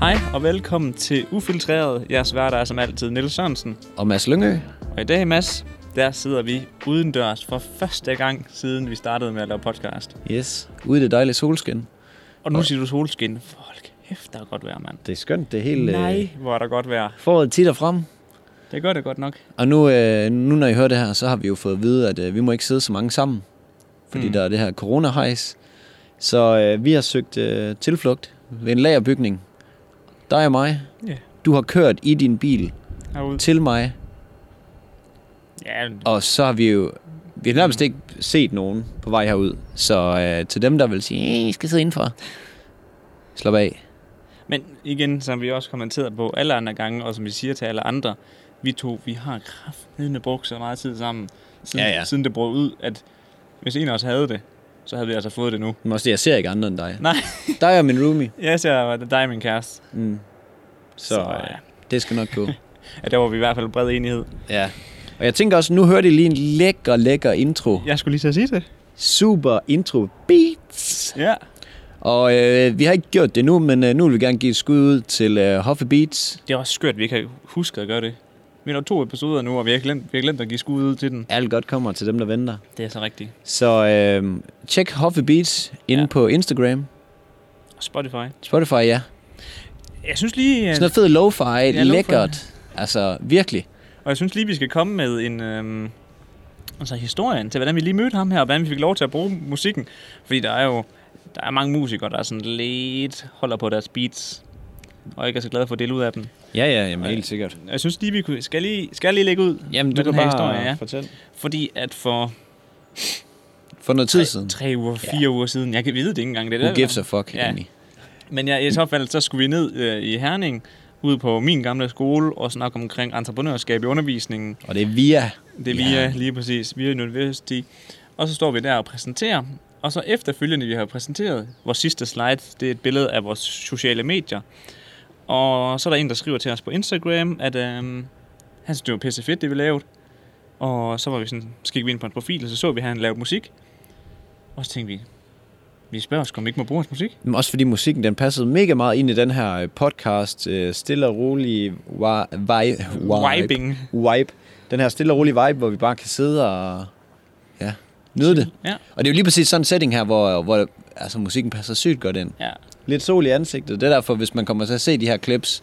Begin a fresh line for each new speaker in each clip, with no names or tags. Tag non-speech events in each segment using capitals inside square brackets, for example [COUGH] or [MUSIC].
Hej og velkommen til Ufiltreret. Jeres værter er som altid Niels Sørensen.
Og Mads Lyngø.
Og i dag, Mads, der sidder vi udendørs for første gang, siden vi startede med at lave podcast.
Yes. Ude i det dejlige solskin.
Og nu siger du solskin. Folk, hæft, der er godt vejr, mand.
Det er skønt, det er helt... Øh,
Nej, hvor er der godt vejr.
foråret titter frem.
Det gør det godt nok.
Og nu, øh, nu når I hører det her, så har vi jo fået at vide, at øh, vi må ikke sidde så mange sammen. Fordi
Mm.
mm. der er det her coronahejs. Så øh, vi har søgt øh, tilflugt ved en lagerbygning. Dig og mig.
Ja.
Du har kørt i din bil
Herude.
til mig.
Ja,
Og så har vi jo... Vi har nærmest ikke set nogen på vej herud. Så øh, til dem, der vil sige, "Eh, I skal sidde indenfor. Slap af.
men igen, som vi også kommenterede på alle andre gange, og som vi siger til alle andre, vi to, vi har kraftedeme brugt så meget tid sammen, siden,
Ja, ja.
siden det brød ud, at hvis en af os havde det, så havde vi altså fået det nu.
Men også det, jeg ser ikke andre end dig.
Nej.
Dig og min roomie.
Yes, jeg var dig, min kæreste.
Mm. Så,
Så, øh,
så
ja.
ja. det skal nok gå.
Ja, der var vi i hvert fald bred enighed.
ja. Og jeg tænker også, nu hørte I lige en lækker, lækker intro.
Jeg skulle lige så sige det.
Super intro beats.
Ja.
Og øh, vi har ikke gjort det nu, men øh, nu vil vi gerne give et skud ud til øh, Hoffe Beats.
Det er også skørt, at vi ikke har husket at gøre det. Vi har to episoder nu, og vi har glemt, vi har glemt at give skud ud til den.
Alt godt kommer til dem, der venter.
Det er så rigtigt.
Så øh, tjek Hoffe Beats inde
Ja.
ja. på Instagram.
Og Spotify.
Spotify, ja.
Jeg synes lige, øh,
Sådan noget fed lo-fi, ja,
lo-fi.
lækkert. Altså, virkelig.
og jeg synes lige, vi skal komme med en... Øhm, altså historien til, hvordan vi lige mødte ham her, og hvordan vi fik lov til at bruge musikken. Fordi der er jo der er mange musikere, der er sådan lidt holder på deres beats, og ikke er så glade for at dele ud af dem.
Ja, ja, jamen,
helt
sikkert.
Og Jeg synes lige, vi kunne, skal, lige, skal jeg lige lægge ud
Jamen, du
med
kan
den her
bare
historie, ja.
fortælle.
Fordi at for
For noget tid siden.
tre uger, fire uger siden, jeg kan vide det ikke engang, det er
Who
det,
gives a fuck,
Ja.
ja. egentlig.
Men ja, i så fald, så skulle vi ned øh, i Herning, ud på min gamle skole, og snakke omkring entreprenørskab i undervisningen.
Og det er via
Det er via, ja. lige præcis, via University. Og så står vi der og præsenterer. Og så efterfølgende, vi har præsenteret, vores sidste slide, det er et billede af vores sociale medier. Og så er der en, der skriver til os på Instagram, at øh, han synes, det var pisse fedt, det vi lavede. Og så var vi sådan, så gik vi ind på en profil, og så så vi, at han lavede musik. Og så tænkte vi, vi spørger os, om vi ikke må bruge hans musik.
Men også fordi musikken, den passede mega meget ind i den her øh, podcast, øh, stille og rolig wa- vi- vibe,
Vibing.
vibe. Den her stille og rolig vibe, hvor vi bare kan sidde og ja, nyde det.
Ja.
Og det er jo lige præcis sådan en setting her, hvor, hvor altså, musikken passer sygt godt ind.
Ja,
Lidt sol i ansigtet, det er derfor, hvis man kommer til at se de her clips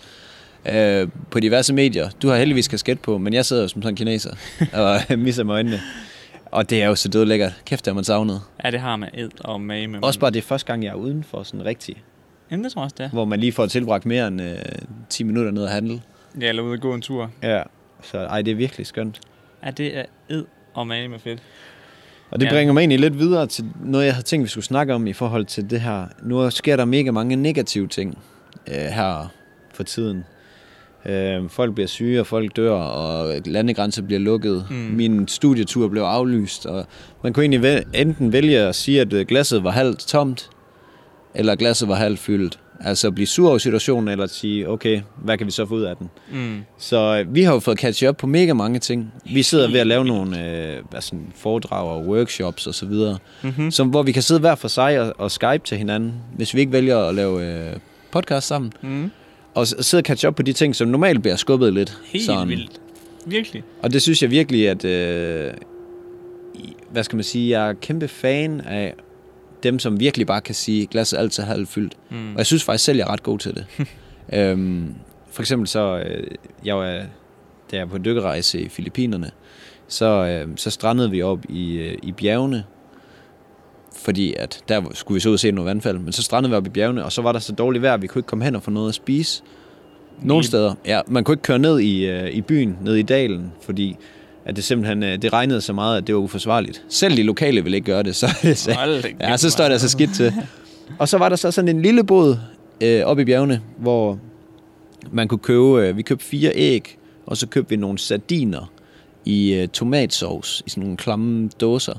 øh, på diverse medier. Du har heldigvis kasket på, men jeg sidder jo som sådan en kineser og misser mig øjnene. Og det er jo så dødlækkert. Kæft, det har man savnet.
ja det har man ed og mage med.
Også bare det er første gang, jeg er udenfor sådan rigtig.
Jamen, det tror jeg også, det er.
hvor man lige får tilbragt mere end øh, 10 minutter ned at handle.
Ja, eller ude og gå en tur.
Ja. Så ej, det er virkelig skønt.
Ja, det er ed og mage med fedt.
Og det
Ja.
ja. bringer mig egentlig lidt videre til noget, jeg havde tænkt, vi skulle snakke om i forhold til det her. Nu sker der mega mange negative ting øh, her for tiden. Øh, folk bliver syge, og folk dør, og landegrænser bliver lukket.
Mm.
Mm. Min studietur blev aflyst, og man kunne egentlig væl- enten vælge at sige, at øh, glasset var halvt tomt, eller glasset var halvt fyldt. Altså at blive sur over situationen, eller at sige, okay, hvad kan vi så få ud af den?
Mm.
Så øh, vi har jo fået catch up på mega mange ting. Vi sidder ved at lave nogle øh, altså, foredrag og workshops osv., og
Mm-hmm.
mm. som, hvor vi kan sidde hver for sig og, og skype til hinanden, hvis vi ikke vælger at lave øh, podcast sammen.
Mm.
Og s- sidde og catch up på de ting, som normalt bliver skubbet lidt.
Helt vildt. Virkelig.
Og det synes jeg virkelig, at... Øh, i- hvad skal man sige? Jeg er kæmpe fan af dem, som virkelig bare kan sige, glasset er altid halvt fyldt.
Mm.
Og jeg synes faktisk selv, jeg er ret god til det. øhm, for eksempel så, øh, jeg var, da jeg var på dykkerejse i Filippinerne, så, øh, så strandede vi op i, øh, i bjergene, fordi at der skulle vi så ud og se nogle vandfald, men så strandede vi op i bjergene, og så var der så dårligt vejr, at vi kunne ikke komme hen og få noget at spise. Nogle
I-
steder, ja. Man kunne ikke køre ned i, øh, i byen, ned i dalen, fordi at det simpelthen øh, det regnede så meget, at det var uforsvarligt. Selv de lokale ville ikke gøre det, så, så
Hold da
Ja,
kæft,
så står det
mand.
altså skidt til. [LAUGHS] Og så var der så sådan en lille båd øh, oppe i bjergene, hvor man kunne købe, øh, vi købte fire æg, og så købte vi nogle sardiner i øh, tomatsovs, i sådan nogle klamme dåser,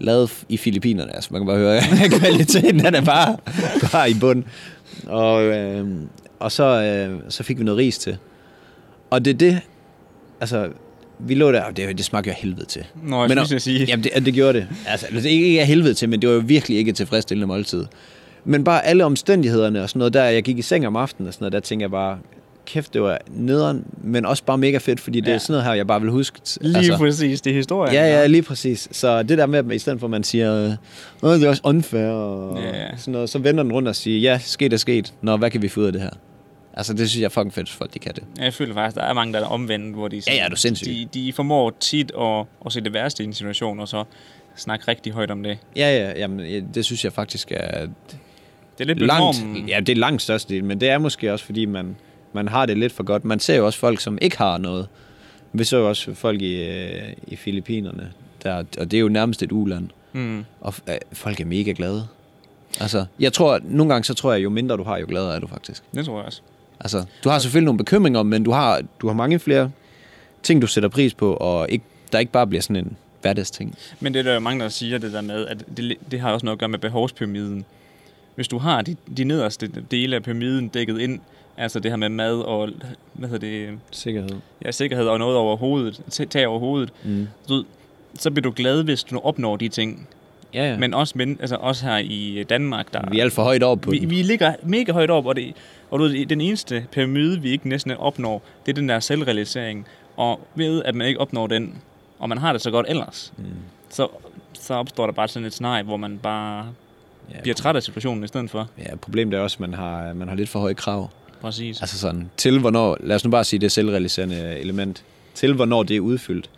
lavet f- i Filippinerne. Altså, man kan bare høre, [LAUGHS] kvaliteten den er bare, [LAUGHS] bare i bund. Og, øh, og så, øh, så fik vi noget ris til. Og det er det, altså, vi lå der, og det, det smagte jo af helvede til.
Nå, jeg skulle lige til at sige.
Jamen, det, det gjorde det. Altså, det er ikke af helvede til, men det var jo virkelig ikke et tilfredsstillende måltid. Men bare alle omstændighederne og sådan noget, der jeg gik i seng om aftenen og sådan noget, der tænkte jeg bare, kæft, det var nederen, men også bare mega fedt, fordi det
Ja.
er sådan noget her, jeg bare vil huske.
Lige altså, præcis, det er historien.
Ja, ja, lige præcis. Så det der med, at man- i stedet for at man siger, øh, "Åh, det er også unfair og
Ja.
yeah. sådan noget, så vender den rundt og siger, ja, sket er sket. Nå, hvad kan vi få ud af det her? Altså, det synes jeg er fucking fedt, folk de kan det.
Ja, Jeg føler faktisk, der er mange, der er omvendt, hvor de, sådan-
ja, er du sindssyg.
de, de formår tit at, at se det værste i en situation, og så snakke rigtig højt om det.
Ja, ja, jamen, ja, det synes jeg faktisk er
Det er lidt blevet normen.
langt, ja, det er langt størstedelen, men det er måske også, fordi man, man har det lidt for godt. Man ser jo også folk, som ikke har noget. Vi så jo også folk i, øh, i Filippinerne, der, og det er jo nærmest et uland.
Mm.
Og øh, folk er mega glade. Altså, jeg tror, nogle gange så tror jeg, jo mindre du har, jo gladere er du faktisk.
Det tror jeg også.
Altså, du har selvfølgelig nogle bekymringer, men du har, du har mange flere ting, du sætter pris på, og ikke, der ikke bare bliver sådan en hverdagsting.
Men det er der jo mange, der siger det der med, at det, det har også noget at gøre med behovspyramiden. Hvis du har de, de nederste dele af pyramiden dækket ind, altså det her med mad og hvad hedder det,
Sikkerhed.
ja, sikkerhed og noget over hovedet, t- tag over hovedet,
Mm.
så, så bliver du glad, hvis du opnår de ting.
Ja, ja.
Ja.
Men
Men også, men, altså, også her i Danmark, der,
vi er alt for højt op på
vi,
den.
vi ligger mega højt op, og, det, og du, ved, den eneste pyramide, vi ikke næsten opnår, det er den der selvrealisering. Og ved, at man ikke opnår den, og man har det så godt ellers, mm. så, så opstår der bare sådan et scenarie, hvor man bare
Ja,
bliver træt af situationen i stedet for.
Ja, problemet er også, at man har, man har lidt for høje krav.
Præcis.
Altså sådan, til hvornår, lad os nu bare sige det selvrealiserende element, til hvornår det er udfyldt.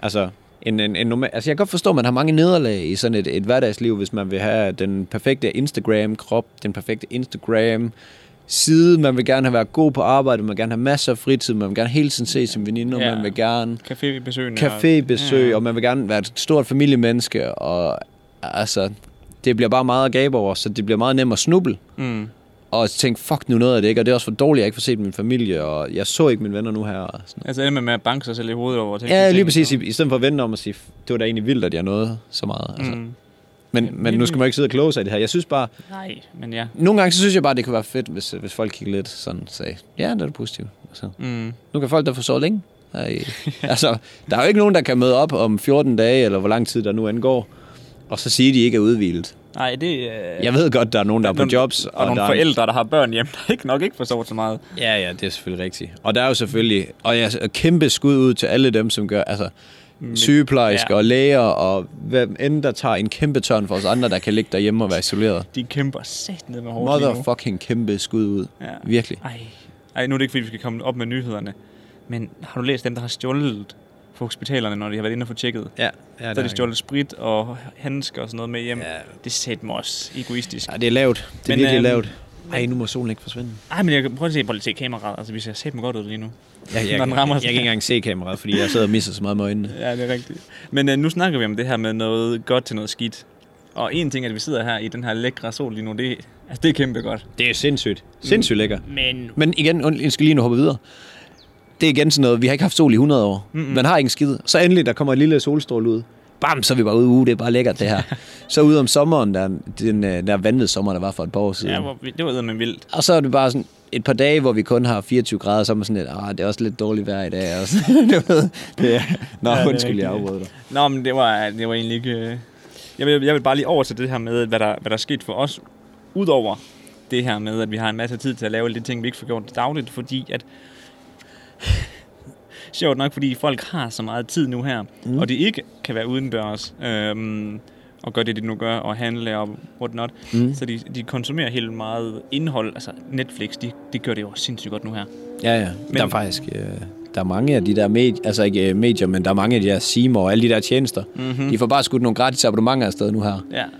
Altså, en, en, en normal, altså jeg kan godt forstå, at man har mange nederlag i sådan et, et hverdagsliv, hvis man vil have den perfekte Instagram-krop, den perfekte Instagram-side, man vil gerne have været god på arbejde, man vil gerne have masser af fritid, man vil gerne hele tiden se sin veninde,
Ja.
man vil gerne
Cafébesøgende. og-
cafébesøg,
Ja.
og man vil gerne være et stort familiemenneske, og altså, det bliver bare meget at gabe over, så det bliver meget nemt at snuble
Mm.
og tænkte, fuck nu noget af det ikke, og det er også for dårligt, at jeg ikke får set min familie, og jeg så ikke mine venner nu her. Og sådan noget.
Altså ender man med at banke sig selv i hovedet over ting.
Ja, lige præcis, i, i stedet for at vente om at sige, det var da egentlig vildt, at jeg nåede så meget. Altså. Mm.
Mm.
Men, men nu skal man ikke sidde og kloge sig i det her. Jeg synes bare,
Nej, men ja.
nogle gange så synes jeg bare, det kunne være fedt, hvis, hvis folk kiggede lidt sådan sagde, ja, det er det positivt. Altså.
Mm.
Nu kan folk der få sovet længe.
[LAUGHS]
Ej. altså, der er jo ikke nogen, der kan møde op om 14 dage, eller hvor lang tid der nu angår, og så sige, at de ikke er udvildet.
Nej, det er...
Jeg ved godt, der er nogen, der er på
Nogle-
jobs.
og, og nogle
der er-
forældre, der har børn hjemme, [LAUGHS] der ikke nok ikke får sovet så meget.
Ja, ja, det er selvfølgelig rigtigt. Og der er jo selvfølgelig, og ja, så kæmpe skud ud til alle dem, som gør, altså sygeplejersker
Mm. ja.
ja. og læger, og hvem end der tager en kæmpe tørn for os andre, der kan ligge derhjemme og være isoleret.
De kæmper sat ned med hårdt lige nu.
Motherfucking kæmpe skud ud.
Ja.
Virkelig.
Ej. Ej, nu er det ikke, fordi vi skal komme op med nyhederne. Men har du læst dem, der har stjålet på hospitalerne, når de har været inde og få tjekket? Ja,
Ja, ja
så har de stjålet sprit og handsker og sådan noget med hjem. Ja.
Ja.
Det sæt mig også egoistisk.
Ja, det er lavt. Det er
Men,
men, virkelig
øhm,
lavt. Ej, nu må solen ikke forsvinde.
Ej, men jeg kan prøve at se, prøv lige at se kameraet. Altså, vi ser sæt mig godt ud lige nu.
Ja, jeg,
Når den rammer
jeg, jeg kan
sådan
ikke engang se kameraet, fordi jeg sidder og misser så meget med øjnene.
Ja, det er rigtigt. Men øh, nu snakker vi om det her med noget godt til noget skidt. Og en ting er, at vi sidder her i den her lækre sol lige nu. Det, altså, det er kæmpe godt.
Det er sindssygt.
Mm.
Sindssygt lækker.
Men
Men igen, und- jeg skal lige nu hoppe videre. Det er igen sådan noget, vi har ikke haft sol i 100 år. Mm-mm. Man har ingen skid. Så endelig, der kommer en lille solstråle ud. Bam, så er vi bare ude. Uh, det er bare lækkert,
[LAUGHS]
det her. så ude om sommeren, der, den øh, der vanvittige sommer, der var for et par år siden.
ja,
Ja, hvor...
hvor, det var med vildt.
Og så er det bare sådan et par dage, hvor vi kun har 24 grader, så er man sådan lidt, ah, det er også lidt dårligt vejr i dag. Og så, [LAUGHS] du ved, det er... Nå,
Ja, det er
ja, undskyld, jeg
rigtigt.
afbrød dig.
Nå, men det var, det var egentlig ikke... øh, Jeg vil, jeg vil bare lige over til det her med, hvad der, hvad der er sket for os. Udover det her med, at vi har en masse tid til at lave lidt ting, vi ikke får gjort dagligt, fordi at... [SIGHS] Sjovt nok, fordi folk har så meget tid nu her, mm. og de ikke kan være udendørs øhm, og gøre det, de nu gør, og handle og whatnot. Mm. Så de, de konsumerer helt meget indhold. Altså Netflix, de, de gør det jo sindssygt godt nu her.
Ja, ja. Men... Der er faktisk... Øh, der er mange af de der medier, altså ikke øh, medier, men der er mange af de der Seymour og alle de der tjenester.
Mhm.
Mm-hmm. De får bare skudt nogle gratis abonnementer afsted nu her.
Ja, altså.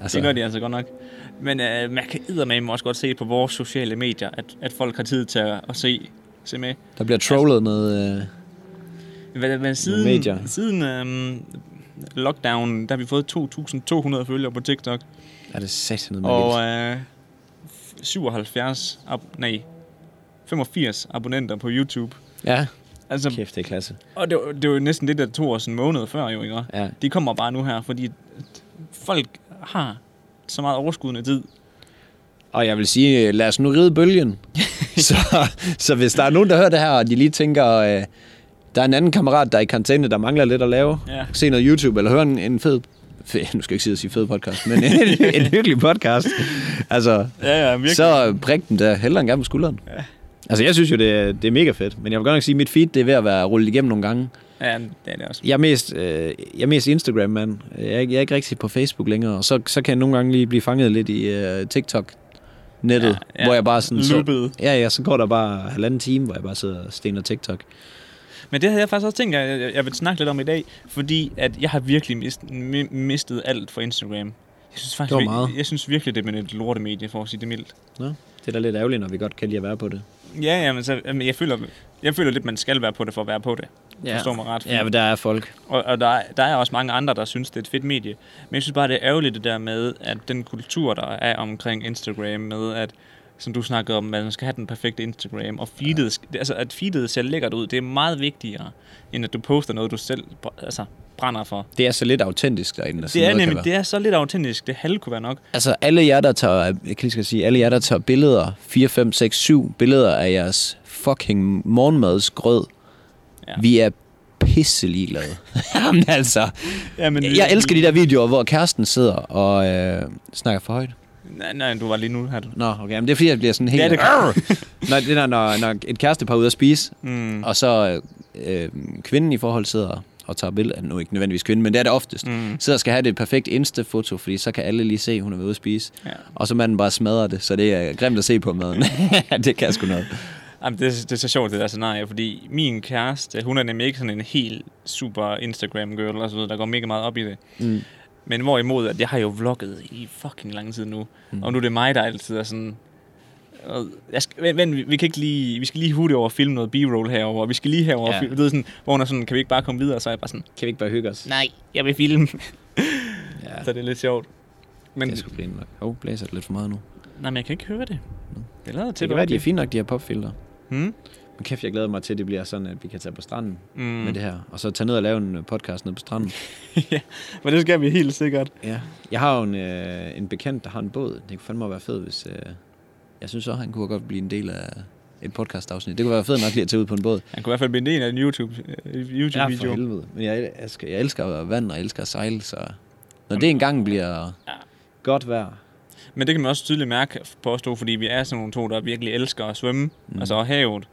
Altså-
det gør de altså godt nok. Men øh, man kan eddermame også godt se på vores sociale medier, at, at folk har tid til at, at se, se med.
Der bliver trollet noget... Øh...
Men, men siden,
medier.
siden øh, lockdown, der har vi fået 2.200 følgere på TikTok,
Er det sat noget med
og øh, 77, ab- nej, 85 abonnenter på YouTube.
Ja,
Altså,
øh, kæft, det er klasse.
Og det var, det var jo næsten det, der tog os en måned før, jo, ikke?
Ja.
De kommer bare nu her, fordi folk har så meget overskudende tid.
Og jeg vil sige, lad [LAUGHS] os nu ride bølgen. så, så hvis der er nogen, der hører det her, og de lige tænker, øh, Der er en anden kammerat, der er i karantæne, der mangler lidt at lave.
Ja.
Se noget YouTube eller høre en, en fed... Fed, nu skal jeg ikke sige at sige fed podcast, men en, en hyggelig podcast. Altså,
Ja, ja, virkelig.
så prik den der hellere en gang på skulderen. Ja. Altså, jeg synes jo, det er, det er mega fedt. Men jeg vil godt nok sige, at mit feed det er ved at være rullet igennem nogle gange.
Ja, det er det også.
Jeg er mest, øh, jeg er mest Instagram-mand. Jeg, er ikke- jeg er ikke rigtig på Facebook længere. Og så, så kan jeg nogle gange lige blive fanget lidt i øh, TikTok-nettet.
Ja, ja.
Hvor jeg bare sådan... Så,
Loopet.
ja, ja, så går der bare halvanden time, hvor jeg bare sidder og stener TikTok.
Men det havde jeg faktisk også tænkt, at jeg, jeg vil snakke lidt om i dag, fordi at jeg har virkelig mist, mi- mistet alt for Instagram. Jeg synes faktisk,
Det var
vir-
meget.
Jeg, synes virkelig, det er et lortemedie, for at sige det mildt.
Det er da lidt ærgerligt, når vi godt kan lide at være på det.
Ja, ja, men så, jamen, jeg, føler, jeg føler lidt, man skal være på det for at være på det. Ja. Forstår mig ret.
Ja, men der er folk.
Og, og der, er- der er også mange andre, der synes, det er et fedt medie. Men jeg synes bare, det er ærgerligt det der med, at den kultur, der er omkring Instagram, med at, som du snakker om, at man skal have den perfekte Instagram, og feedet, sk- altså, at feedet ser lækkert ud, det er meget vigtigere, end at du poster noget, du selv br- altså, brænder for.
Det er så lidt autentisk derinde. at sådan
Det er
noget kan være.
nemlig, det er så lidt autentisk, det halve kunne være nok.
Altså alle jer, der tager, jeg kan lige skal sige, alle jer, der tager billeder, 4, 5, 6, 7 billeder af jeres fucking morgenmadsgrød,
Ja.
ja. vi er pisse ligeglade. [LAUGHS] Jamen altså,
Ja, men
jeg elsker de der videoer, hvor kæresten sidder og øh, snakker for højt.
Nej, nej, du var lige nu her. Du.
Nå, okay, men det er fordi, jeg bliver sådan helt...
Ja, det
når, det er, når, når et kærestepar er ude at spise,
Mm.
og så øh, kvinden i forhold sidder og tager billeder, nu ikke nødvendigvis kvinden, men det er det oftest,
Mm.
mm. sidder og skal have det perfekte Insta-foto, fordi så kan alle lige se, hun er ved at spise.
Ja.
Og så manden bare smadrer det, så det er grimt at se på maden. [LAUGHS] det kan sgu noget.
Jamen, det, det er så sjovt, det der scenarie, fordi min kæreste, hun er nemlig ikke sådan en helt super Instagram-girl, og så videre, der går mega meget op i det.
Mm.
Men hvorimod, at jeg har jo vlogget i fucking lang tid nu, mm. og nu er det mig, der altid er sådan... "Øh, Jeg skal, vent, vent, vi, vi, kan ikke lige, vi skal lige hurtigt over og filme noget b-roll herover, og vi skal lige herover,
Ja.
ja. du ved sådan, hvor hun er sådan, kan vi ikke bare komme videre, så er jeg bare sådan,
Kan vi ikke bare hygge os?
nej, jeg vil filme, [LAUGHS]
Ja,
så det er lidt sjovt. Men,
det er sgu fint nok. Åh, oh, blæser det lidt for meget nu.
nej, men jeg kan ikke høre det. Det lader
Mm. Det,
til
kan være, de er fint nok, de her popfilter.
Hmm?
Men kæft, jeg glæder mig til, at det bliver sådan, at vi kan tage på stranden
Mm. [LAUGHS]
mm. med det her. Og så tage ned og lave en øh, podcast nede på stranden.
ja, men det skal vi helt sikkert.
Ja. Jeg har jo en, øh, en bekendt, der har en båd. Det kunne fandme være fedt, hvis... Øh, jeg synes også, han kunne godt blive en del af et podcast-afsnit. Det kunne være fedt nok lige at tage ud på en båd.
Han kunne i hvert fald blive en del af en YouTube, øh, YouTube-video.
for helvede. Men jeg elsker, jeg elsker vand, og jeg elsker at sejle, så... Når det engang bliver
Ja.
godt vejr,
Men det kan man også tydeligt mærke på os to, fordi vi er sådan nogle to, der virkelig elsker at svømme, mm. altså og havet.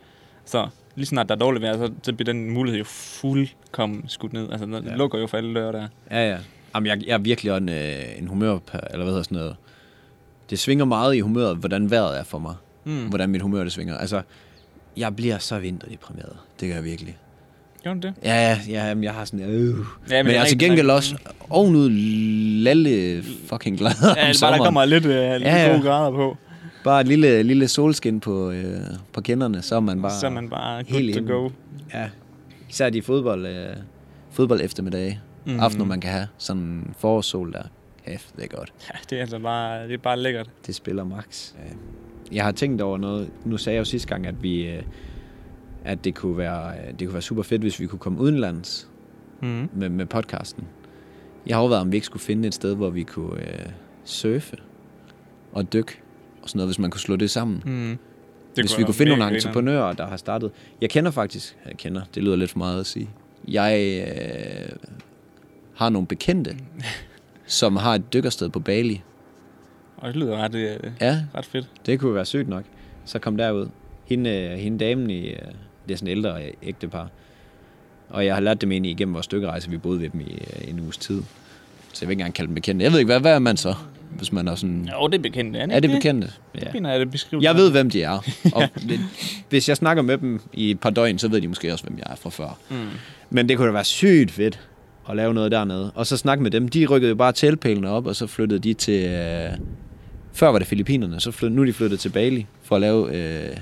Så lige snart der er dårligt vejr, så, så bliver den mulighed jo fuldkommen skudt ned. Altså, den ja.
Ja.
lukker jo for alle døre der.
Ja, ja. Jamen, jeg, jeg er virkelig en, øh, en humør, eller hvad hedder sådan noget. Det svinger meget i humøret, hvordan vejret er for mig. Mm. Hvordan mit humør, det svinger. Altså, jeg bliver så vinterdeprimeret. Det gør jeg virkelig.
Gjorde den det?
Ja, ja, ja jamen, jeg har sådan, øh.
det er
men, men jeg er til
rigtig
gengæld
nok.
også ovenud lalle fucking glad om
Ja, bare
sommeren.
der kommer lidt, øh, lidt ja,
Ja,
ja.
ja.
gode grader på,
Bare et lille, lille solskin på, øh, på kinderne, så er man bare...
så er man bare good
helt
to
inde.
go.
Ja. Især de fodbold, øh, fodbold eftermiddage,
Mhm.
mm. aftener, man kan have. Sådan en forårssol der. Kæft, det er godt.
Ja, det er altså bare, det er bare lækkert.
Det spiller max. Jeg har tænkt over noget. Nu sagde jeg jo sidste gang, at vi øh, at det kunne være øh, det kunne være super fedt, hvis vi kunne komme udenlands
Mm.
med, med podcasten. Jeg har overvejet, om vi ikke skulle finde et sted, hvor vi kunne øh, surfe og dykke og sådan noget, hvis man kunne slå det sammen.
Mm.
Det hvis vi kunne finde nogle entreprenører, der har startet. Jeg kender faktisk, jeg kender, det lyder lidt for meget at sige. Jeg øh, har nogle bekendte, som har et dykkersted på Bali.
Og det lyder ret, øh,
Ja,
ret fedt.
Det kunne være sødt nok. Så kom derud. Hende, øh, hende damen i, øh, det er sådan en ældre øh, ægtepar. Og jeg har lært dem egentlig igennem vores stykkerejse. Vi boede ved dem i øh, en uges tid. Så jeg vil ikke engang kalde dem bekendte. Jeg ved ikke, hvad, hvad er man så? Hvis man er sådan...
Jo, det er bekendt, er det,
Er det
ikke
bekendte?
Det
Ja.
mener jeg, det beskriver.
Jeg ved, hvem de
[LAUGHS]
er. Og det, hvis jeg snakker med dem i et par døgn, så ved de måske også, hvem jeg er fra før.
Mm.
Men det kunne da være sygt fedt at lave noget dernede. Og så snakke med dem. De rykkede jo bare teltpælene op, og så flyttede de til... Øh, før var det Filippinerne, så flyttede, nu er de flyttet til Bali for at lave øh,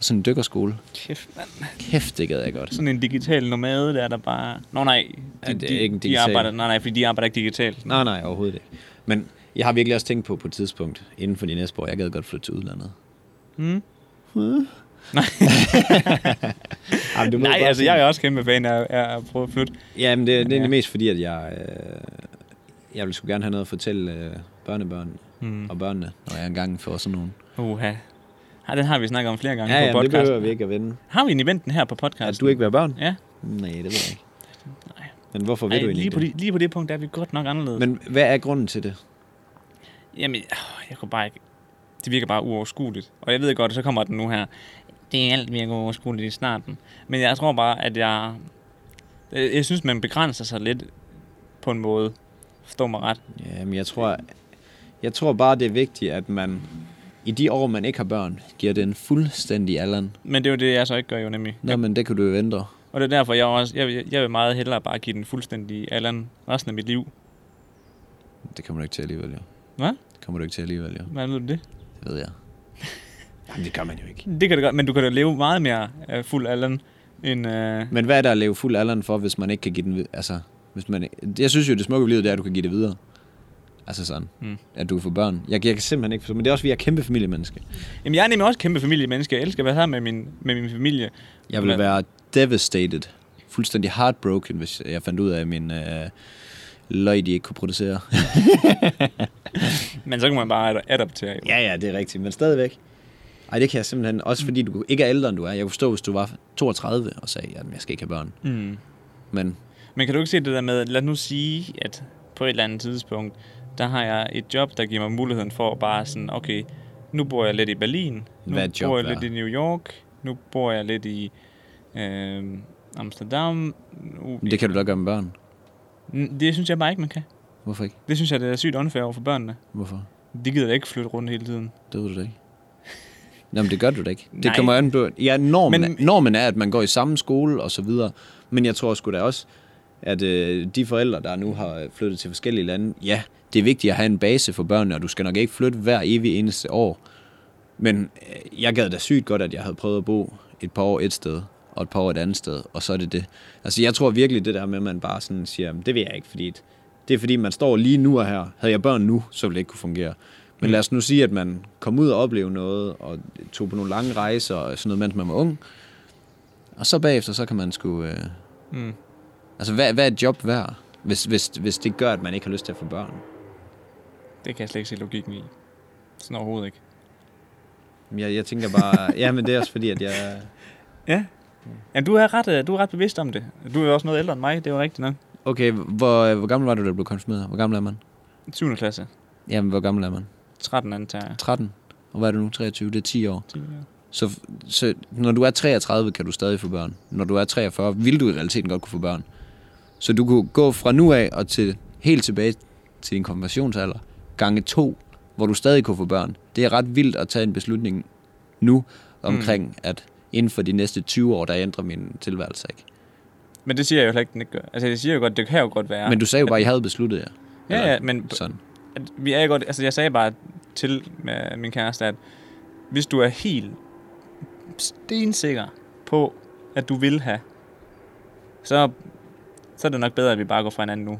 sådan en dykkerskole.
Kæft, mand.
Kæft, det gad jeg godt.
sådan en digital nomade, der er der bare... Nå nej, de,
Ja, det er
de,
ikke en
de
digital.
arbejder, nej, nej, fordi de arbejder ikke digitalt.
Nej, nej, overhovedet ikke. Men jeg har virkelig også tænkt på på et tidspunkt, inden for de næste år, jeg gad godt flytte til udlandet.
Hmm?
Jamen, du
Nej, altså jeg er også kæmpe fan af, af at prøve at flytte.
Jamen, det, det er
Ja.
egentlig mest fordi, at jeg... Øh, jeg vil sgu gerne have noget at fortælle øh, børnebørn
Mm.
og børnene, når jeg engang får sådan nogen.
Uha. Ja, den har vi snakket om flere gange
Ja,
på
ja, det
podcasten.
behøver vi ikke at vende.
Har vi en eventen her på podcasten?
At du ikke være børn?
Ja.
Nej, det ved jeg ikke.
Nej.
Men hvorfor ved
Ej,
du egentlig
lige, på
ikke det?
de, lige på det punkt der er vi godt nok anderledes. Men,
Men hvad er grunden til det?
Jamen, åh, jeg kunne bare ikke... Det virker bare uoverskueligt. Og jeg ved godt, så kommer den nu her. Det er alt virker uoverskueligt i starten. Men jeg tror bare, at jeg... Jeg jeg synes, man begrænser sig lidt på en måde. Forstår mig ret.
Jamen, jeg tror, jeg tror bare, det er vigtigt, at man i de år, man ikke har børn, giver den fuldstændig alderen.
Men det er jo det, jeg så ikke gør jo nemlig.
Nå, men det kan du jo ændre.
Og det er derfor, jeg også... Jeg, vil- jeg vil meget hellere bare give den fuldstændig Allan resten af mit liv.
Det kommer du ikke til alligevel, jo.
Hvad?
Det kommer du ikke til alligevel, jo.
Hvad ved du det? [LAUGHS]
Det ved jeg. Jamen, det gør man jo ikke.
Det kan du godt, men du kan da leve meget mere øh, fuld Allan end... Øh,
Men hvad er der at leve fuld alderen for, hvis man ikke kan give den vid- Altså, hvis man, jeg synes jo, det smukke ved livet, det er, at du kan give det videre. Altså sådan.
Mm.
At du får børn. Jeg, jeg kan simpelthen ikke forstå, men det er også, fordi jeg er kæmpe familiemenneske.
Jamen, jeg er nemlig også kæmpe familiemenneske. Jeg elsker at være sammen med min, med min familie.
Jeg ville
Men-
være devastated, fuldstændig heartbroken, hvis jeg fandt ud af, at min øh, løg, de ikke kunne producere. [LAUGHS]
Men så kan man bare ad- adoptere. Jo.
ja, ja, det er rigtigt, men stadigvæk. Ej, det kan jeg simpelthen, også fordi du ikke er ældre, end du er. Jeg kunne forstå, hvis du var 32 og sagde, at jeg skal ikke have børn.
Mm.
Men
Men kan du ikke se det der med, lad nu sige, at på et eller andet tidspunkt, der har jeg et job, der giver mig muligheden for at bare sådan, okay, nu bor jeg lidt i Berlin, nu
Hvad er et job
bor jeg
værd?
lidt i New York, nu bor jeg lidt i øh, Amsterdam. Nu,
det kan du da gøre med børn.
N- det synes jeg bare ikke, man kan.
Hvorfor ikke?
Det synes jeg, det er sygt unfair over for børnene.
Hvorfor?
De gider da ikke flytte rundt hele tiden.
Det ved du da ikke. Jamen, det gør du da ikke. Det
Nej.
kommer an på... Ja, normen,
Men-
men, normen er, at man går i samme skole og så videre. Men jeg tror sgu da også, at øh, de forældre, der nu har flyttet til forskellige lande, ja, det er vigtigt at have en base for børnene, og du skal nok ikke flytte hver evig eneste år. Men øh, jeg gad da sygt godt, at jeg havde prøvet at bo et par år et sted, og et par år et andet sted, og så er det det. Altså, jeg tror virkelig det der med, at man bare sådan siger, "Jamen, det vil jeg ikke, fordi det er fordi, man står lige nu og her. Havde jeg børn nu, så ville det ikke kunne fungere. Men lad os nu sige, at man kom ud og oplevede noget, og tog på nogle lange rejser og sådan noget, mens man var ung. Og så bagefter, så kan man sgu... Øh...
Mm.
Altså, hvad, hvad er et job værd, hvis, hvis, hvis det gør, at man ikke har lyst til at få børn?
Det kan jeg slet ikke se logikken i. Sådan overhovedet ikke.
Jeg, jeg tænker bare... ja, men det er også fordi, at jeg...
Ja. Jamen, du er ret, øh, du er ret bevidst om det. Du er jo også noget ældre end mig, det er jo rigtigt nok.
Okay, hvor, hvor gammel var du, da du blev konfirmeret? Hvor gammel er man?
7. klasse.
Jamen, hvor gammel er man?
13 antager jeg.
13. Og hvad er du nu? 23? Det er 10 år.
10 år.
Så, så når du er 33, kan du stadig få børn. Når du er 43, vil du i realiteten godt kunne få børn. Så du kunne gå fra nu af og til helt tilbage til din konfirmationsalder, gange to, hvor du stadig kunne få børn. Det er ret vildt at tage en beslutning nu omkring, mm. at inden for de næste 20 år, der ændrer min tilværelse ikke.
Men det siger jeg jo heller ikke, den ikke gør. Altså, jeg siger jo godt, det kan jo godt være.
Ja. Men du sagde jo bare, at I havde besluttet jer.
ja, ja, men
Sådan.
at vi er jo godt... Altså, jeg sagde bare til øh, min kæreste, at hvis du er helt stensikker på, at du vil have, så, så er det nok bedre, at vi bare går fra hinanden nu.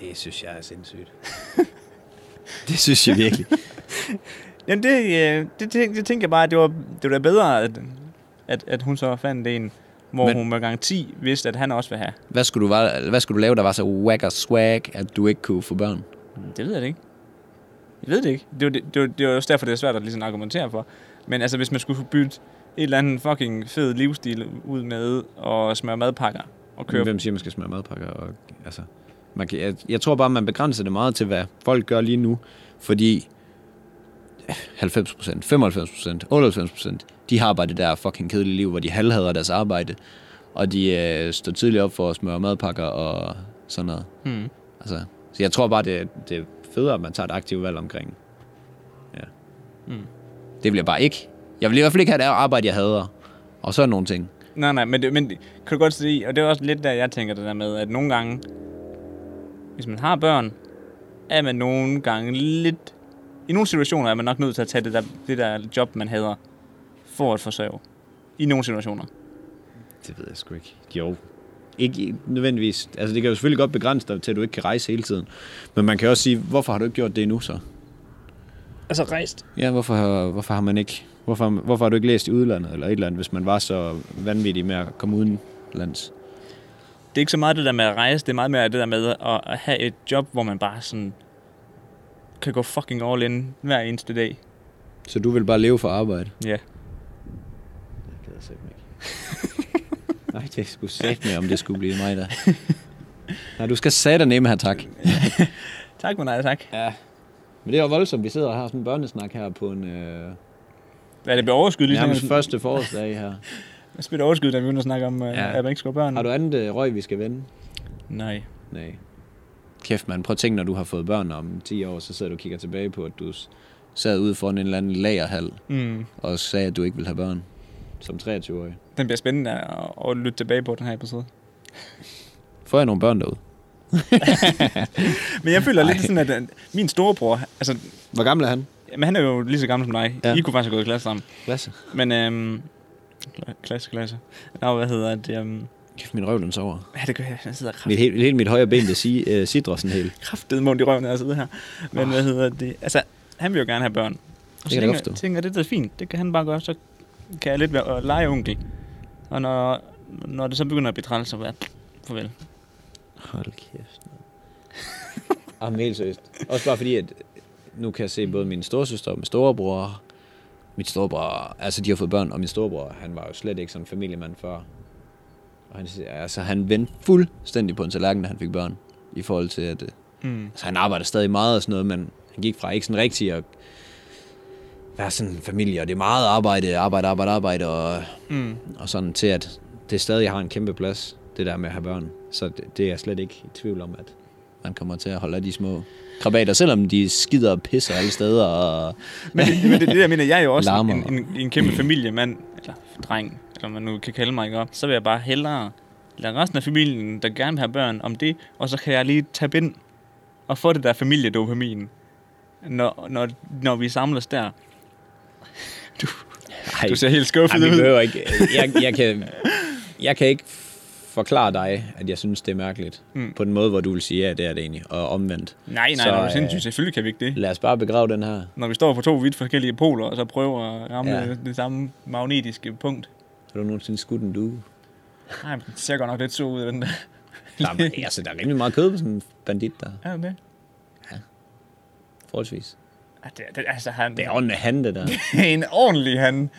Det synes jeg er sindssygt. det synes jeg virkelig.
Jamen, det, øh, det, tænk, det tænker jeg bare, at det var, det var da bedre, at, at, at hun så fandt en, hvor
Men-
men, hun med garanti vidste, at han også vil have.
Hvad skulle, du, var- hvad skulle du lave, der var så whack og swag, at du ikke kunne få børn?
Det ved jeg det ikke. Jeg ved det ikke. Det er jo, det, det er jo- det er jo også derfor, det er svært at ligesom argumentere for. Men altså, hvis man skulle bytte et eller andet fucking fed livsstil ud med at smøre madpakker og køre...
Kører. Hvem siger, man skal smøre madpakker? Og, altså, man kan, jeg, jeg tror bare, man begrænser det meget til, hvad folk gør lige nu. Fordi 90 procent, 95 procent, 98 procent, de har bare det der fucking kedelige liv, hvor de halvhader deres arbejde. Og de øh, står tidligt op for at smøre madpakker og sådan noget.
Hmm.
Altså, så jeg tror bare, det, det er federe, at man tager et aktivt valg omkring. Ja.
Mm.
Det vil jeg bare ikke. Jeg vil i hvert fald ikke have det arbejde, jeg hader. Og så nogle ting.
Nej, nej, men, det, men det- kan du godt se, og det er også lidt der, jeg tænker det der med, at nogle gange, hvis man har børn, er man nogle gange lidt... I nogle situationer er man nok nødt til at tage det der, det der job, man hader, for at forsørge. I nogle situationer.
Det ved jeg sgu ikke. Jo. Ikke nødvendigvis. Altså, det kan jo selvfølgelig godt begrænse dig til, at du ikke kan rejse hele tiden. Men man kan også sige, hvorfor har du ikke gjort det endnu så?
Altså rejst.
Ja, hvorfor, har- hvorfor har man ikke... Hvorfor, hvorfor har du ikke læst i udlandet eller et eller andet, hvis man var så vanvittig med at komme udenlands?
det er ikke så meget det der med at rejse, det er meget mere det der med at, at have et job, hvor man bare sådan kan gå fucking all in hver eneste dag.
Så du vil bare leve for arbejde?
Ja.
[LAUGHS] Det gider jeg ikke. Nej, det skulle sætte med, om det skulle blive mig, der. Nej, du skal sætte nemme her, tak.
Tak, men nej, tak.
Ja. Men det er jo voldsomt, vi sidder og har sådan en børnesnak her på en øh,
Hvad er det bliver overskyet lige
nærmest
nærmest først?
første forårsdag her.
Jeg spiller overskyet, da vi begynder at snakke om, ja.
Ja.
at man ikke skal have børn.
Har du andet øh, røg, vi skal vende?
Nej.
Nej. Kæft, man. Prøv at tænke, når du har fået børn om 10 år, så sidder du og kigger tilbage på, at du s- sad ude foran en eller anden lagerhal
Mm.
og sagde, at du ikke ville have børn som 23-årig.
Den bliver spændende at, at lytte tilbage på den her episode.
Får jeg nogle børn derude? [LAUGHS]
Men jeg føler lidt
Ej.
sådan, at øh, min storebror, altså,
Hvor gammel er han?
men han er jo lige så gammel som dig.
Ja.
Ja. I kunne faktisk have gået i klasse sammen.
Lasse.
Men, øhm, kla- klasse, klasse. Nå, hvad hedder det? Øhm,
Kæft, min røv den sover.
ja, det gør jeg. Jeg sidder kraft,
Mit, helt, helt mit højre ben, det siger, øh, sidder sådan helt.
kraftedet mund i røven, når jeg sidder her. Men oh. hvad hedder det? Altså, han vil jo gerne have børn. Og
Ah. kan
så
jeg da godt
tænker,
forstå.
tænker, det er da fint. Det kan han bare gøre. Så kan jeg lidt være og lege onkel. Og når, når det så begynder at blive træls, så være
[LAUGHS]
farvel.
Hold kæft. Jamen helt seriøst. Også bare fordi, at nu kan jeg se både min storsøster og min storebror. Mit storebror, altså de har fået børn, og min storebror, han var jo slet ikke sådan en familiemand før. Og han, siger- altså, han vendte fuldstændig på en tallerken, da han fik børn. I forhold til, at øh,
Mm.
altså, han arbejder stadig meget og sådan noget, men han gik fra ikke sådan rigtig at være sådan en familie, og det er meget arbejde, arbejde, arbejde, arbejde, og
Mm.
og sådan til, at det stadig har en kæmpe plads, det der med at have børn. Så det, det er jeg slet ikke i tvivl om, at man kommer til at holde af de små krabater, selvom de skider og pisser alle steder. Og... [LAUGHS]
Men, det- men det, er det der mener, jeg er jo også en,
Larmer.
en, en, en kæmpe familiemand, eller dreng, eller man nu kan kalde mig, ikke? Og så vil jeg bare hellere lade resten af familien, der gerne vil have børn, om det, og så kan jeg lige tabe ind og få det der familiedopamin, når, når, når vi samles der.
Ej,
Du ser helt skuffet
ej, vi
ud.
behøver ikke. Jeg, jeg, kan, jeg kan ikke forklare dig, at jeg synes, det er mærkeligt. Mm.
Mm.
På den måde, hvor du vil sige, ja, det er det egentlig, og omvendt.
Nej, nej,
Så,
så, nej,
øh,
sindssygt. Selvfølgelig kan vi ikke det.
Lad os bare begrave den her.
Når vi står på to vidt forskellige poler, og så prøver at ramme
Ja.
ja. det samme magnetiske punkt.
Har du nogensinde skudt en [LAUGHS] due?
Nej, men det ser godt nok lidt så ud, den der.
Der er, altså, der er rimelig meget kød på sådan en bandit der,
Er det det?
forholdsvis.
Ah, det, det, altså, han,
Det er ordentligt hande, der.
[LAUGHS] en ordentlig han.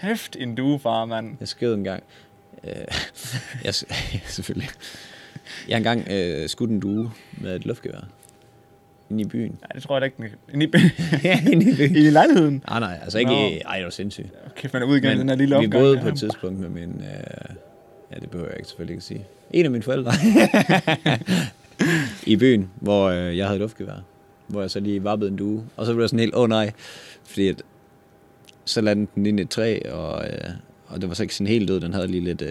Hæft en duefar, mand.
Jeg skød en gang. Øh, [LAUGHS] jeg, s- selvfølgelig. Jeg har engang øh, skudt en due med et luftgevær. Inde i byen.
Nej, det tror jeg da ikke. den- Inde i,
[LAUGHS] ja, inde [LAUGHS] i byen.
I [LAUGHS] lejligheden.
Ah, nej, altså ikke...
Nå.
Ej, det var sindssygt.
Kæft, man er ude igennem den her lille
vi
opgang.
boede
der.
på et tidspunkt med min... Øh, ja, det behøver jeg ikke selvfølgelig ikke sige. En af mine
[LAUGHS]
forældre. I byen, hvor øh, jeg havde luftgevær. Hvor jeg så lige vappede en due. Og så blev jeg sådan helt, åh oh, nej. Fordi at, så landede den ind i et træ, og, øh, og det var så ikke sådan helt død. Den havde lige lidt øh,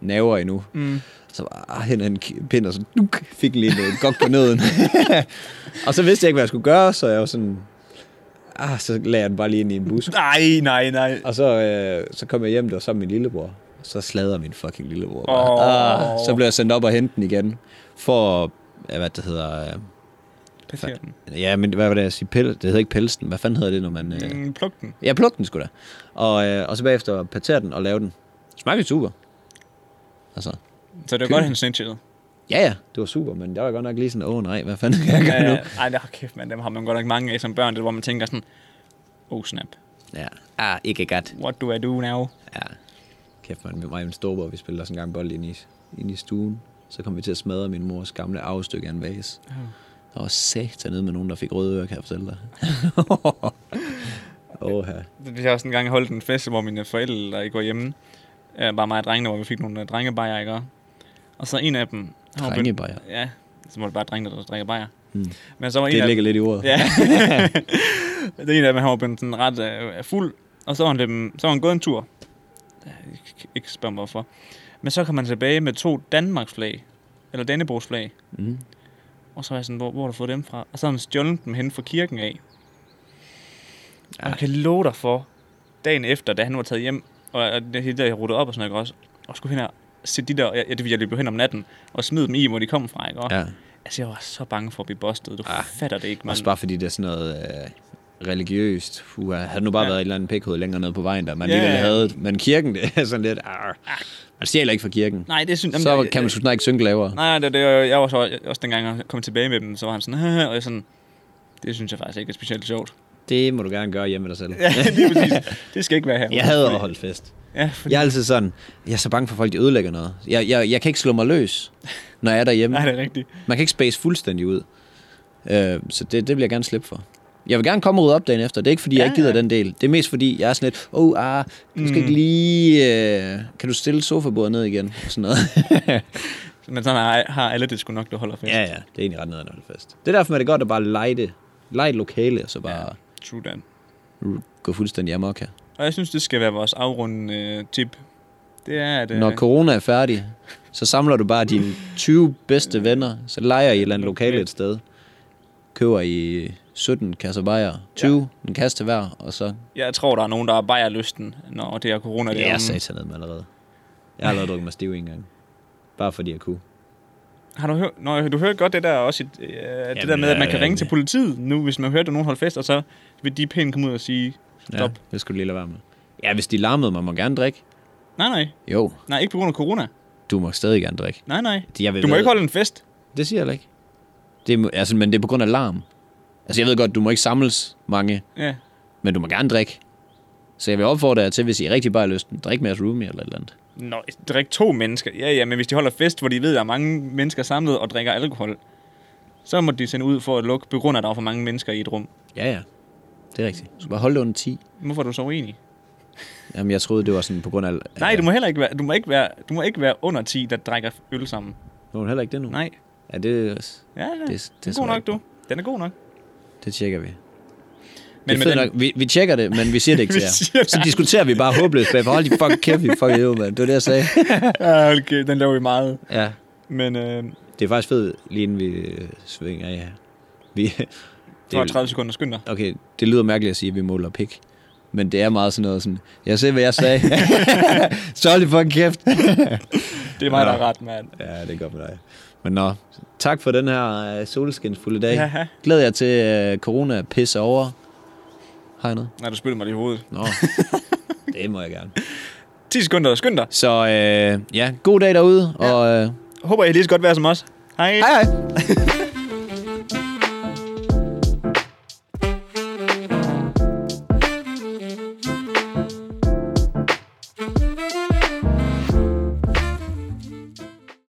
naver endnu.
Mm.
Så var ah, hen en k- pind, og så duk, fik lige en øh, godt på
[LAUGHS]
nøden. og så vidste jeg ikke, hvad jeg skulle gøre, så jeg var sådan... Ah, så lagde jeg den bare lige ind i en bus.
Nej, nej, nej.
Og så, øh, så kom jeg hjem, der var sammen med min lillebror. Så slader min fucking lillebror.
Åh.
Bare. Ah, så blev jeg sendt op og hente den igen. For, at- ja, hvad det hedder...
Passer den.
Øh, ja, men hvad var det, jeg siger? Pel, det hedder ikke pelsen. Hvad fanden hedder det, når man... Øh,
Mm, pluk den.
jeg plukkede den sgu da. Og, øh, og så bagefter patere den og lave den. Smagte super. Altså,
Så det var
Kød.
godt, han [LAUGHS] snitchede.
ja ja, det var super, men der var godt nok lige sådan, åh oh, nej, hvad fanden kan jeg gøre
Ja,
nu?
ja. Ej, der, kæft, man, dem har man godt nok mange af som børn, det, er, hvor man tænker sådan, oh snap,
Ja, ah, ikke godt.
what do I do now?
Ja. Kæft, man, mig og min storebror, vi spillede også en gang bold ind i, ind i stuen. Så kom vi til at smadre min mors gamle afstykke af en vase.
Åh.
Der var satan nede med nogen, der fik røde ører, kan jeg fortælle dig.
[LAUGHS]
Åh, her.
Vi har også en gang holdt en fest, hvor mine forældre ikke var hjemme. Øh, bare mig og drengene, hvor vi fik nogle øh, drengebajer, ikke? også? Og så en af dem... han var begyndt-
Drengebajer?
Ja, så må det bare drenge, der drikker bajer.
Hmm.
Men så var en af
Det ligger lidt i
[LAUGHS]
ordet.
Ja. det er en af dem, han var blevet sådan ret øh, fuld, og så var, han dem, så var han gået en tur. Jeg kan Ikke, ikke spørg mig hvorfor. Men så kom han tilbage med to Danmarks flag, eller Dannebrogs flag.
Mm.
Og så var jeg sådan, hvor, hvor har du fået dem fra? Og så har han stjålet dem hen fra kirken af. Og jeg kan love dig for, dagen efter, da han var taget hjem, og, og det hele der, jeg ruttede op og sådan noget, ikke også, og skulle hen og se de der, ja, det ville jeg løbe hen om natten, og smide dem i, hvor de kom fra, ikke også?
ja.
Altså, jeg var så bange for at blive bustet. Du
Ah.
fatter det ikke, mand.
Også bare fordi det er sådan noget øh, religiøst. Uha, havde det nu bare
Ja.
været et eller andet pikhoved længere nede på vejen, der man
Ja,
yeah. alligevel
ja.
havde. det. Men kirken, det er sådan lidt... Arr. Man stjæler ikke fra kirken.
Nej, det synes
Så kan man sgu snart ikke synge lavere.
Nej, det, det, jeg var så også dengang, jeg kom tilbage med dem, så var han sådan, [LAUGHS] og jeg sådan, det synes jeg faktisk ikke er
[LAUGHS]
specielt sjovt. [LAUGHS]
Det må du gerne gøre hjemme med dig selv.
Ja, lige præcis. Det skal ikke være her.
Jeg havde holdt fest.
Ja, fordi,
Jeg er altid sådan, jeg er så bange for, at folk de ødelægger noget. Jeg, jeg, jeg kan ikke slå mig løs, når jeg er derhjemme.
nej, det er rigtigt.
Man kan ikke space fuldstændig ud. Øh, så det, det vil jeg gerne slippe for. Jeg vil gerne komme og rydde op dagen efter. Det er ikke, fordi ja, jeg
Ja,
ikke gider
ja.
den del. Det er mest, fordi jeg er sådan lidt, åh, oh, ah, du skal
Mm.
ikke lige... Øh, kan du stille sofabordet ned igen? Og sådan
[LAUGHS]
noget.
Men sådan har, har alle det sgu nok, der holder fast.
ja, ja. Det er egentlig ret ned, når det fast. Det er derfor, man er det godt at bare lege det. Lege et lokale, og så bare
True that.
ja. gå fuldstændig amok her.
Og jeg synes, det skal være vores afrundende øh, tip. Det er, at... øh,
Ja. Når corona er færdig, så samler du bare dine 20 bedste venner, så leger I et eller andet lokale et sted. Køber I 17 kasser bajer, 20, ja. en kasse til hver, og så
Jeg tror, der er nogen, der er bare lysten, når det er corona.
Ja,
Det
jeg er satan med allerede. Jeg har allerede drukket mig stiv en gang. Bare fordi jeg kunne.
Har du hørt, Nå, du hørte godt det der også, et, øh, det der med, at man kan
øh,
ringe til politiet nu, hvis man hørte, at nogen holdt fest, og så vil de pænt komme ud og sige, stop.
Ja, det skulle du lige lade være med. Ja, hvis de larmede mig, må gerne drikke.
Nej, nej,
Jo,
nej, ikke på grund af corona.
du må stadig gerne drikke.
Nej, nej.
Jeg ved,
Du må ikke holde en fest.
Det siger jeg heller ikke. Det, må- altså, men det er på grund af larm. Altså, jeg ved godt, du må ikke samles mange,
Ja,
men du må gerne drikke. Så jeg vil opfordre jer til, hvis I er rigtig bare lysten, drik med jeres roomie eller et eller andet.
Nå, drik to mennesker. Ja, ja, men hvis de holder fest, hvor de ved, at der er mange mennesker samlet og drikker alkohol, så må de sende ud for at lukke, på grund af, at der er for mange mennesker i et rum.
Ja, ja. Det er rigtigt. Du skal bare holde det under 10.
Hvorfor er du så uenig?
Jamen, jeg troede, det var sådan på grund af...
Nej, du må heller ikke være, du må ikke være, du må ikke være under 10, der drikker øl sammen.
Må hun heller ikke det nu?
Nej.
Ja, det, det,
Ja, ja. Mm. Det,
det,
det er
tror
god
jeg
nok,
ikke.
du. Den er god nok.
Det tjekker vi.
Men
Men
med
det er
den-
fedt nok. Vi, vi tjekker det, men vi
[LAUGHS]
siger det ikke
Vi
til jer.
siger det
Så diskuterer vi bare håbløst bagefter. Hold de fucking kæft, vi fucking jo, mand. Det var det, jeg sagde.
[LAUGHS] Ja, okay, den laver vi meget.
Ja.
Men øh,
Det er faktisk fedt, lige inden vi øh, svinger af her. Vi,
du har 30 sekunder, skynd dig.
okay, det lyder mærkeligt at sige, at vi måler pik. Men det er meget sådan noget sådan, jeg ser, hvad jeg [LAUGHS] sagde. så hold de fucking kæft.
Det er mig, der har
Nå.
ret, mand.
Ja, det er godt med dig. Men nå, tak for den her øh, solskinsfulde dag.
Jaha.
Glæder jeg til, at øh, corona pisser over. Har jeg noget?
Nej, du spytter mig lige i hovedet.
Nå, [LAUGHS] det må jeg gerne.
10 sekunder, skynd dig.
Så øh, ja, god dag derude, og øh,
Håber, I er lige så godt vejr som os. Hej.
hej hej!